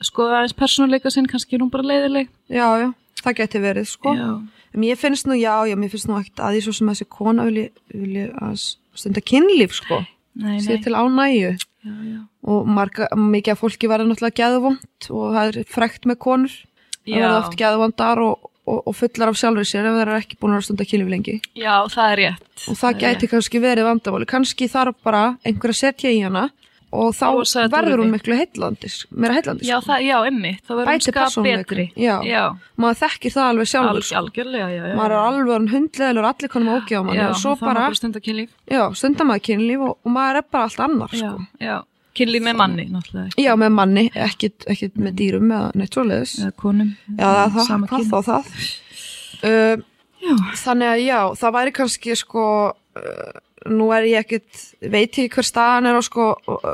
S4: skoða aðeins persónuleika sinn kannski er hún bara leiðileg
S3: Já, já, það geti verið, sko.
S4: já,
S3: En Mér finnst nú, já, já, mér finnst nú ekkert að því svo sem þessi kona vilji, vilji að s- stunda kynlíf, sko.
S4: nei,
S3: Sér
S4: nei
S3: til ánægju.
S4: já, já.
S3: Og marga, mikið af fólki verður náttúrulega geðvont og það er frekt með konur. það verða oft geðvandar og, og, og fullar af sjálfur sér ef það er ekki búin að vera að stunda kynlíf lengi
S4: já, það er rétt
S3: og það
S4: er
S3: gæti kannski verið vandamáli kannski þarf bara einhver að setja í hana og þá
S4: Rosa þetta
S3: verður hún
S4: úrið.
S3: miklu heillandi meira heillandi
S4: Já, það, já, emmi, það verður
S3: Bætir
S4: umska
S3: persónuleikann,
S4: betri.
S3: já. maður þekkir það alveg
S4: al,
S3: sjálfur sko.
S4: algjörlega, já, já.
S3: maður er alveg orðin hundleðilur allir konum ágjáð manni
S4: já,
S3: og svo
S4: þá er maður
S3: bara,
S4: bara stundar kynlíf.
S3: já, stundar maður kynlíf og, og maður er bara allt annar
S4: Já,
S3: sko.
S4: já, kynlíf með manni, náttúrulega,
S3: já, með manni, ekkit, ekkit með dýrum eða neitt svoleiðis já,
S4: eða konum.
S3: það, er það,
S4: sama
S3: hvað
S4: kyn.
S3: þá það Mm, um,
S4: Já,
S3: Þannig að já, það væri kannski sko, uh, nú er ég ekkit, veit ég hver staðan er á sko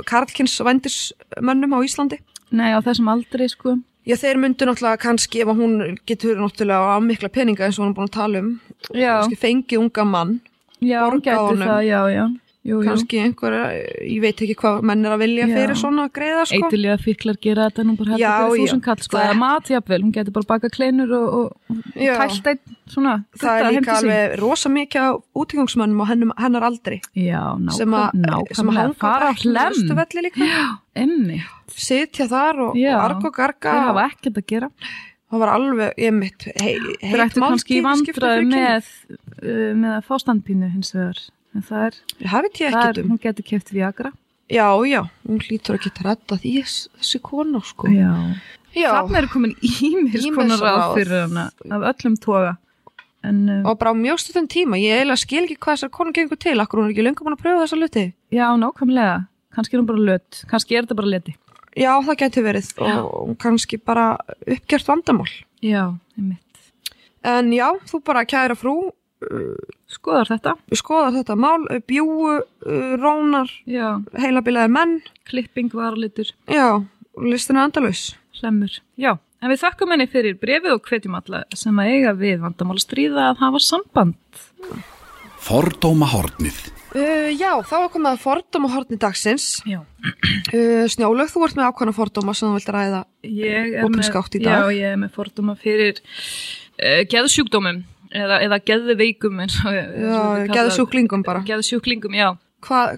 S3: Karlkins vendismönnum á Íslandi.
S4: nei, á þessum aldrei, sko.
S3: Já, þeir myndu náttúrulega kannski ef að hún getur náttúrulega á mikla peninga eins og hún er búin að tala um,
S4: Já,
S3: kannski fengi unga mann,
S4: já,
S3: borga
S4: gæti
S3: honum.
S4: það, já, já. Jú, jú.
S3: kannski einhverja, ég veit ekki hvað menn er að vilja
S4: Já.
S3: fyrir svona greiða sko.
S4: Eitilíða fíklar gera þetta nú bara hættu
S3: Já,
S4: fyrir
S3: já.
S4: þúsund kall, sko.
S3: Það-
S4: Eða mat, jafnvel, hún getur bara baka kleinur og, og
S3: Já.
S4: tælt einn, svona,
S3: Það
S4: gutta
S3: er
S4: heim
S3: líka
S4: til sín.
S3: alveg rosa mikið á útígangsmönnum og hennum, hennar aldrei
S4: Já,
S3: sem að
S4: nákvæmlega,
S3: sem að
S4: nákvæmlega,
S3: hanga
S4: fara á hlem,
S3: velli líka,
S4: emmi,
S3: sitja þar og,
S4: Já.
S3: og arg og garga
S4: það
S3: og-
S4: hafa ekkert að gera.
S3: Það var alveg, ég mitt, hei, heit
S4: Þeir ættu kannski í
S3: skiptir fyrir
S4: vandræðu
S3: kyn.
S4: með, uh, með að fá standpínu hins vegar. En það er,
S3: Það veit ég
S4: það
S3: ekkert
S4: er
S3: um.
S4: hún getur keft Viagra.
S3: Já, já, hún hlýtur að geta rætta því þessi kona, sko.
S4: Já.
S3: Já,
S4: Þannig er komin ímis
S3: Ýmis
S4: konar ráð
S3: ráð.
S4: fyrir hana af öllum toga. En uh,
S3: og bara á mjög stundum tíma, ég eiginlega skil ekki hvað þessar konu gengur til, akkur hún er ekki löngu búin að pröfa þessa luti.
S4: já, nákvæmlega. Kannski er hún bara lött. Kannski er þetta bara leti.
S3: Já, það gæti verið og kannski bara uppgjört vandamál.
S4: Já, einmitt.
S3: En já, þú bara kæra frú,
S4: Skoðar þetta.
S3: skoðar þetta mál, bjúu, uh, rónar,
S4: Já,
S3: heilabilaðir menn,
S4: klipping, varalitur,
S3: já, listin er endalaus.
S4: hlemur. Já, en við þakkum henni fyrir brefið og hvetjum alla sem að eiga við vandamál stríða að hafa samband.
S2: Fordóma hornið.
S3: Uh, já, þá er komið að fordóma hortni dagsins.
S4: Já.
S3: Uh, Snjólaug, þú ert með ákvæmna fordóma sem þú vilt ræða.
S4: Ég er
S3: Opinskátt í
S4: með,
S3: dag.
S4: já, ég er með fordóma fyrir uh, geðsjúkdómum eða, eða geðveikum eins og
S3: Já, geðsjúklingum bara.
S4: geðsjúklingum, já
S3: Hva,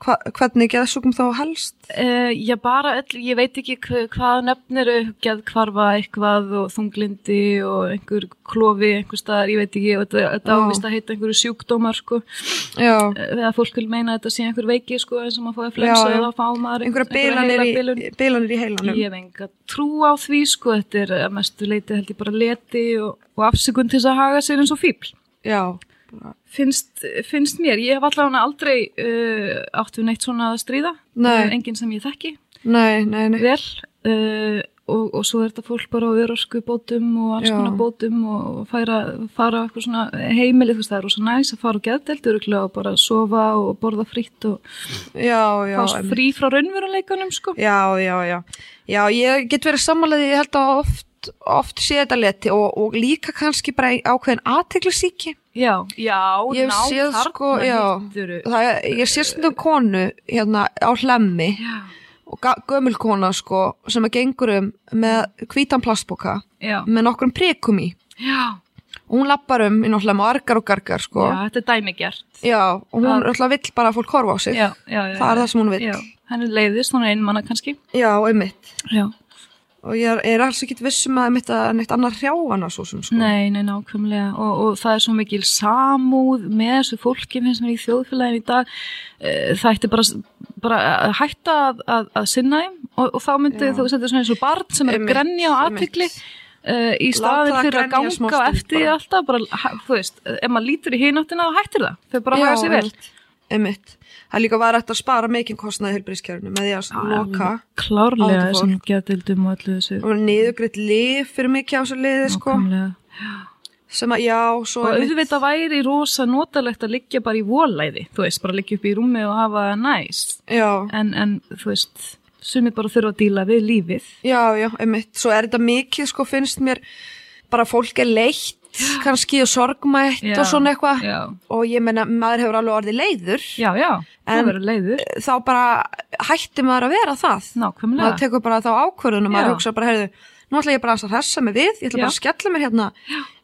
S3: hva, hvernig geðsjúkum þá helst?
S4: uh, já bara, öll, ég veit ekki hva, hvað nefnir geðkvarfa eitthvað og þunglindi og einhver klofi einhver staðar, ég veit ekki og þetta, þetta
S3: Já.
S4: ávist að heita einhverju sjúkdómar sko,
S3: Já,
S4: Eh, eða fólk vil meina að þetta sé einhver veiki sko, eins og maður fóði flensa
S3: Já, já.
S4: eða fá maður
S3: einhverja bilanir í, bilanir í heilanum.
S4: Ég hef enga trú á því sko, þetta er að mestu leiti held ég bara leti og, og afsökun til þess að haga sér eins og fíbl.
S3: Já,
S4: Finnst, finnst mér, ég hef allavega aldrei uh, átt við neitt svona að stríða,
S3: Nei.
S4: Eh, enginn sem ég þekki
S3: nei, nei, nei.
S4: vel uh, og, og svo er þetta fólk bara á örosku bótum og alls
S3: Já.
S4: konar bótum og færa, fara á eitthvað svona heimilið, þú veist það er rosa næs að fara á geðdelt öruglega og bara sofa og borða fritt og
S3: Já, já.
S4: fá svo
S3: em-
S4: frí frá raunveruleikanum sko.
S3: Já, já, já. Já, ég get verið sammálaðið, ég held að oft, oft sé þetta leti og, og líka kannski bara í ákveðin aðteglisíki.
S4: Já, já,
S3: Ég hef
S4: ná,
S3: séð,
S4: þarna
S3: sko, já.
S4: hittirðu.
S3: Það, er- ég sé stundum konu hérna á hlemmi
S4: Já,
S3: og ga- gömul kona sko sem að gengur um með hvítan plastboka
S4: já,
S3: með nokkrum prikum í.
S4: já,
S3: og hún lappar um inn á hlæm og argar og gargar sko.
S4: já, þetta er dæmigjart.
S3: Já, og hún
S4: Það-
S3: alltaf vill bara að fólk horfa á sig.
S4: Já, já, já.
S3: Það er það sem hún vill.
S4: Já, henni leiðist, hún er einmanna kannski.
S3: Já, einmitt.
S4: Já.
S3: Og ég er, er alls ekki vissum að einmitt að neitt annar hrjá hana svo sem sko.
S4: Nei, nei, nákvæmlega og, og það er svo mikil samúð með þessu fólki finnst mér í þjóðfélagin í dag Eh, það ætti bara, bara að hætta að, að, að sinna þeim og, og þá myndi
S3: Já.
S4: þú setja svona eins og barn sem er að
S3: Einmitt,
S4: grenja á
S3: einmitt.
S4: aðtikli í staðin
S3: það
S4: fyrir að
S3: grenja smá
S4: ganga á
S3: stund
S4: eftir því
S3: bara.
S4: alltaf bara, ha- þú veist, ef maður lítur í hináttina þá hættir það, þau bara
S3: Já,
S4: hafa sér vel
S3: einmitt. Einmitt. Það er líka var þetta að spara meikin kostnaði helbriðskjörnu með því að loka
S4: klárlega
S3: Átta
S4: þessum getildum og öllu þessu
S3: og niðurgreitt lif fyrir mikið á þessu liði sko.
S4: Nákvæmlega.
S3: Sem að, já, svo
S4: og
S3: einmitt-
S4: auðvitað væri rosa notalegt að liggja bara í volæði, þú veist, bara liggja upp í rúmi og hafa það næst,
S3: Já,
S4: en, en þú veist, sumir bara þurfa að díla við lífið.
S3: já, já, einmitt. Svo er þetta mikið sko finnst mér bara fólk er leitt kannski og sorgmætt
S4: Já,
S3: og svona eitthvað.
S4: Já,
S3: og ég meina maður hefur alveg orðið leiður
S4: já, já
S3: En-
S4: það verður leiður,
S3: þá bara hætti maður að vera það maður
S4: nákvæmlega,
S3: tekur bara þá ákvörðun og maður
S4: Já.
S3: hugsa bara heyrðu, nú ætla ég bara aðeins að hressa mig við ég ætla bara
S4: Já.
S3: að skella mér hérna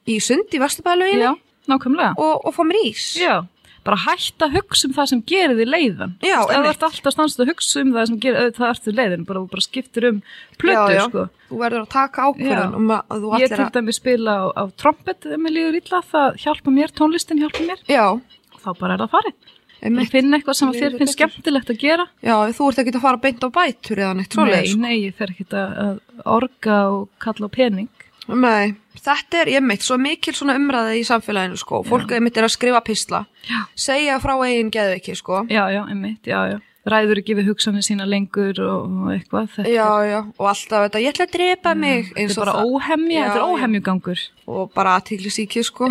S3: í sund í
S4: já,
S3: Vesturbæðalöginni
S4: nákvæmlega,
S3: og, og fá mér ís
S4: já. bara hætta að hugsa um það sem gerir því leiðan
S3: Já,
S4: Þú veist, ef þú
S3: einmitt.
S4: ert alltaf stannslega að hugsa um það sem gerir auðvitað ertu leiðin, bara, þú bara skiptir um plötu,
S3: já, já.
S4: sko
S3: Þú verður að taka ákvörðun
S4: Já.
S3: um að- að þú
S4: Ég
S3: allir
S4: til
S3: að...
S4: dæmi spila á, á trompet ef mér líður illa, það hjálpa mér, tónlistin hjálpa mér
S3: Já,
S4: og þá bara er það farið. Ég
S3: einmitt.
S4: finn eitthvað sem að þér
S3: Líður
S4: finnst
S3: betur.
S4: skemmtilegt að gera.
S3: Já, þú ert ekki að fara beint á bætur eða neitt
S4: Nei,
S3: svoleiðis.
S4: nei, ég fer ekki að að orga og kalla á pening.
S3: Nei. þetta er einmitt svo mikil svona umræði í samfélaginu sko. Fólk einmitt er að skrifa písla,
S4: Já.
S3: segja frá eigin geðveiki sko.
S4: Já, já, einmitt, já, já. Ræður ekki við hugsanir sína lengur og, og eitthvað. Þetta,
S3: Já, já, og alltaf þetta, ég ætla að drepa mig eins
S4: þetta
S3: og
S4: er bara
S3: það.
S4: óhemja,
S3: Já,
S4: þetta er
S3: já.
S4: óhemjugangur.
S3: og bara aðtíkli síkið sko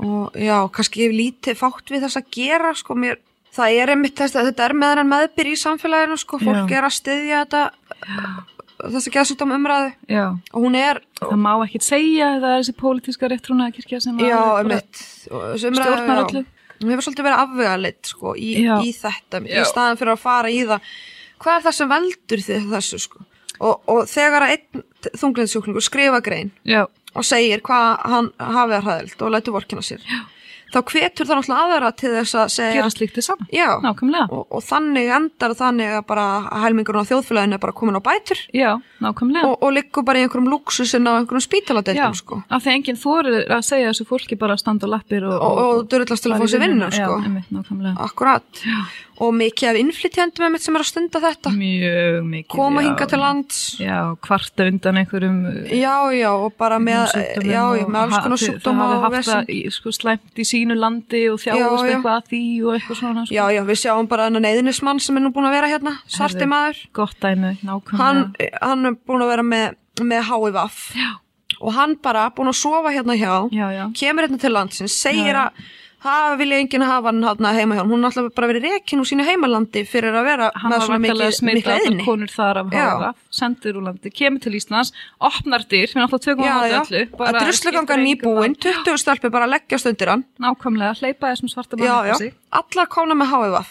S3: og já, kannski ég hef lítið fátt við þess að gera sko mér, það er einmitt þess að þetta er meðan en meðbyr í samfélaginu sko, fólk
S4: Já.
S3: er að styðja þetta þess að geða svolítið um umræðu
S4: já.
S3: og hún er,
S4: Það má ekkit segja að það er þessi pólitíska réttrúnaðakirkja sem að-
S3: já,
S4: bara-
S3: einmitt þessi
S4: Stjórnar
S3: já.
S4: öllu.
S3: hún hefur svolítið verið afvegaleitt sko í,
S4: Já.
S3: í þetta,
S4: Já.
S3: í staðan fyrir að fara í það hvað er það sem veldur þið þessu sko og, og þegar að einn þunglindsjúklingur skrifa grein
S4: Já,
S3: og segir hvað hann hafið að hraðild og lætur vorkina sér já. þá hvetur það náttúrulega aðra til þess að segja
S4: gera slíkt þið saman.
S3: já,
S4: Nákvæmlega.
S3: og, og þannig endar þannig að bara helmingurinn á þjóðfélaginu er bara komin á bætur
S4: Já, nákvæmlega.
S3: og, og liggur bara í einhverjum lúksusinn á einhverjum spítaladeildum sko.
S4: af því enginn þorir að segja þessu fólki bara að standa á lappir og,
S3: og, og dörðlast til að
S4: fara í
S3: fá sér vinnu
S4: Já,
S3: sko.
S4: einmitt, nákvæmlega.
S3: akkurat og mikið af innflytjandum einmitt sem er að stunda þetta
S4: Mjög mikið.
S3: koma
S4: já.
S3: hinga til lands
S4: Já, kvarta undan einhverjum uh,
S3: já, já, og bara með,
S4: sjúkdómum
S3: já, já,
S4: og
S3: með alls
S4: ha-
S3: konar
S4: þau-
S3: sjúkdóma
S4: Það
S3: og
S4: hafi haft
S3: vesen.
S4: það í- sko, slæmt í sínu landi og þjáðust
S3: Já, já.
S4: eitthvað að því og eitthvað svona. Sko.
S3: já, já, við sjáum bara hennar neyðinismann sem er nú búin að vera hérna, svarti
S4: Herðu.
S3: maður
S4: Gott dæmi, nákvæmlega.
S3: hann, hann er búin að vera með, með HIVF
S4: hérna. Já.
S3: og hann bara búin að sofa hérna hjá
S4: Já, já.
S3: kemur hérna til landsins, segir
S4: Já.
S3: að það vilja enginn hafa hann hérna heima hjá honum. hún er alltaf bara verið rekin úr sínu heimalandi fyrir að vera
S4: Hann
S3: með
S4: var
S3: svona
S4: vantilega
S3: mikið, mikla
S4: smitað og
S3: eðinni
S4: konur þar af
S3: Já.
S4: háða, sendur úr landi, kemur til Íslands, opnar dyr, við náttúrulega tökum á
S3: Já,
S4: móti
S3: já,
S4: öllu. bara
S3: að druslugangan
S4: skiptir engu
S3: nýbúinn,
S4: máli.
S3: 20 stelpi bara að leggjast undir hann
S4: Nákvæmlega, hleypa þessum svarta manni
S3: já,
S4: upp á
S3: já,
S4: sig.
S3: allar komna með HIVF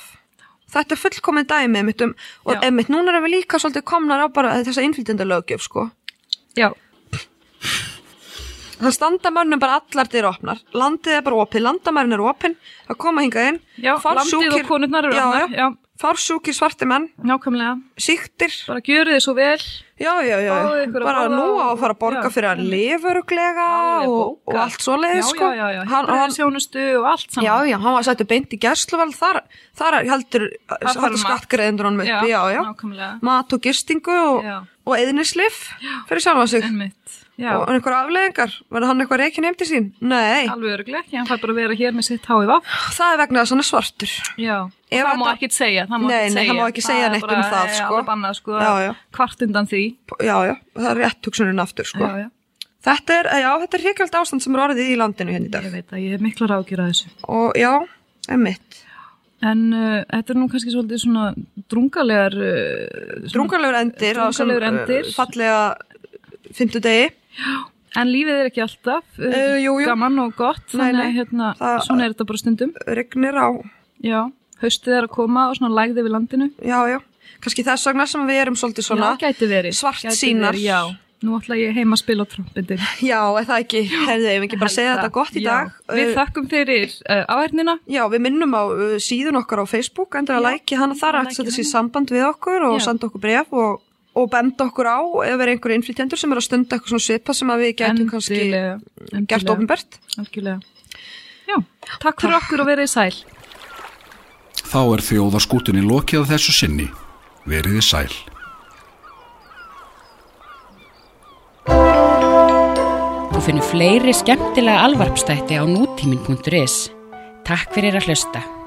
S3: þetta er fullkomin dæmi einmitt um,
S4: Já.
S3: og einmitt núna erum við líka svolítið komnar á bara þessa innflytjandalögjöf sko
S4: Já,
S3: Það standa mönnum bara allar dyr opnar. Landið er bara opið, landamærin er opin, það koma hingað inn.
S4: já landið og konurnar eru
S3: já,
S4: opnar.
S3: Já,
S4: Já,
S3: Fársjúkir svarti menn,
S4: nákvæmlega.
S3: síktir,
S4: Bara gjöru þið svo vel.
S3: já, já, já,
S4: Fáðu ykkur að
S3: bara
S4: borða
S3: nú á að fara að borga
S4: já.
S3: fyrir að lifa öruglega
S4: Alveg
S3: og,
S4: bókað.
S3: og allt svo leiði, sko.
S4: Já, já, já, já.
S3: Hann, hann,
S4: Heilbrigðisþjónustu og allt saman.
S3: já, já, hann var sættu beint í gæsluvel, þar, þar er heldur,
S4: þarf
S3: heldur
S4: mat.
S3: skattgreðendur honum uppi, já, já.
S4: Nákvæmlega.
S3: Mat og gistingu og,
S4: Já.
S3: og eðnislif fyrir sjálfa sig.
S4: Einmitt. Já,
S3: Og einhver afleðingar, verður hann eitthvað reikin heim til sín? Nei.
S4: alveg öruglega ekki. Hann fær bara að vera hér með sitt háið vaff.
S3: Það er vegna þess að hann er svartur.
S4: Já.
S3: Ef
S4: það má
S3: þetta-
S4: ekkit segja, það má
S3: Nei,
S4: ekkit
S3: nei,
S4: segja.
S3: það má ekki segja
S4: er
S3: neitt um
S4: bara,
S3: það,
S4: eh,
S3: sko.
S4: alveg bannað, sko.
S3: Já, já.
S4: Kvart undan því.
S3: Já, já, það er rétt hugsunin aftur, sko.
S4: Já, já.
S3: Þetta er, já, þetta er hrikjöld ástand sem er orðið í landinu hérna í dag.
S4: Ég veit að ég hef mikla rákjur að þessu.
S3: Og já, emmitt.
S4: En uh, þetta er nú kannski svolítið svona drungalegar... Uh, svona-
S3: Drungalegur endir á sem
S4: Drungalegur endir.
S3: uh, fallega fymtudegi.
S4: En lífið er ekki alltaf uh,
S3: Eh, jú, jú.
S4: gaman og gott,
S3: Nei,
S4: þannig
S3: nei.
S4: að hérna,
S3: Það-
S4: svona er þetta bara stundum.
S3: Rignir á,
S4: Já, haustið er að koma og svona lægði við landinu.
S3: já, já. Kanski þess vegna sem við erum svolítið svona.
S4: já, gæti verið.
S3: svart
S4: Gæti
S3: sýnar.
S4: verið, Já, nú ætla ég heima að spila á trompetin.
S3: Já, er það ekki, herðu, ef ekki bara segja þetta gott í
S4: já.
S3: dag.
S4: Við
S3: Uh,
S4: þakkum fyrir uh, áhernina.
S3: Já, við minnum á uh, síðun okkar á Facebook, endur að
S4: Já,
S3: læki hana þar
S4: að
S3: að
S4: lækja
S3: setja sér
S4: hana.
S3: samband við okkur og
S4: Já.
S3: senda okkur bref og, og benda okkur á ef er einhver innflytjendur sem er að stunda eitthvað svona svipa sem að við gætum kannski
S4: Endilega,
S3: gert
S4: endilega.
S3: ofinbært.
S4: Algjörlega. Já, takk fyrir okkur og verið sæl.
S2: Þá er þjóðarskútunni lokið að þessu sinni. Veriði sæl.
S1: Þú finnur fleiri skemmtilega alvarpstætti á nútímin.is. Takk fyrir að hlusta.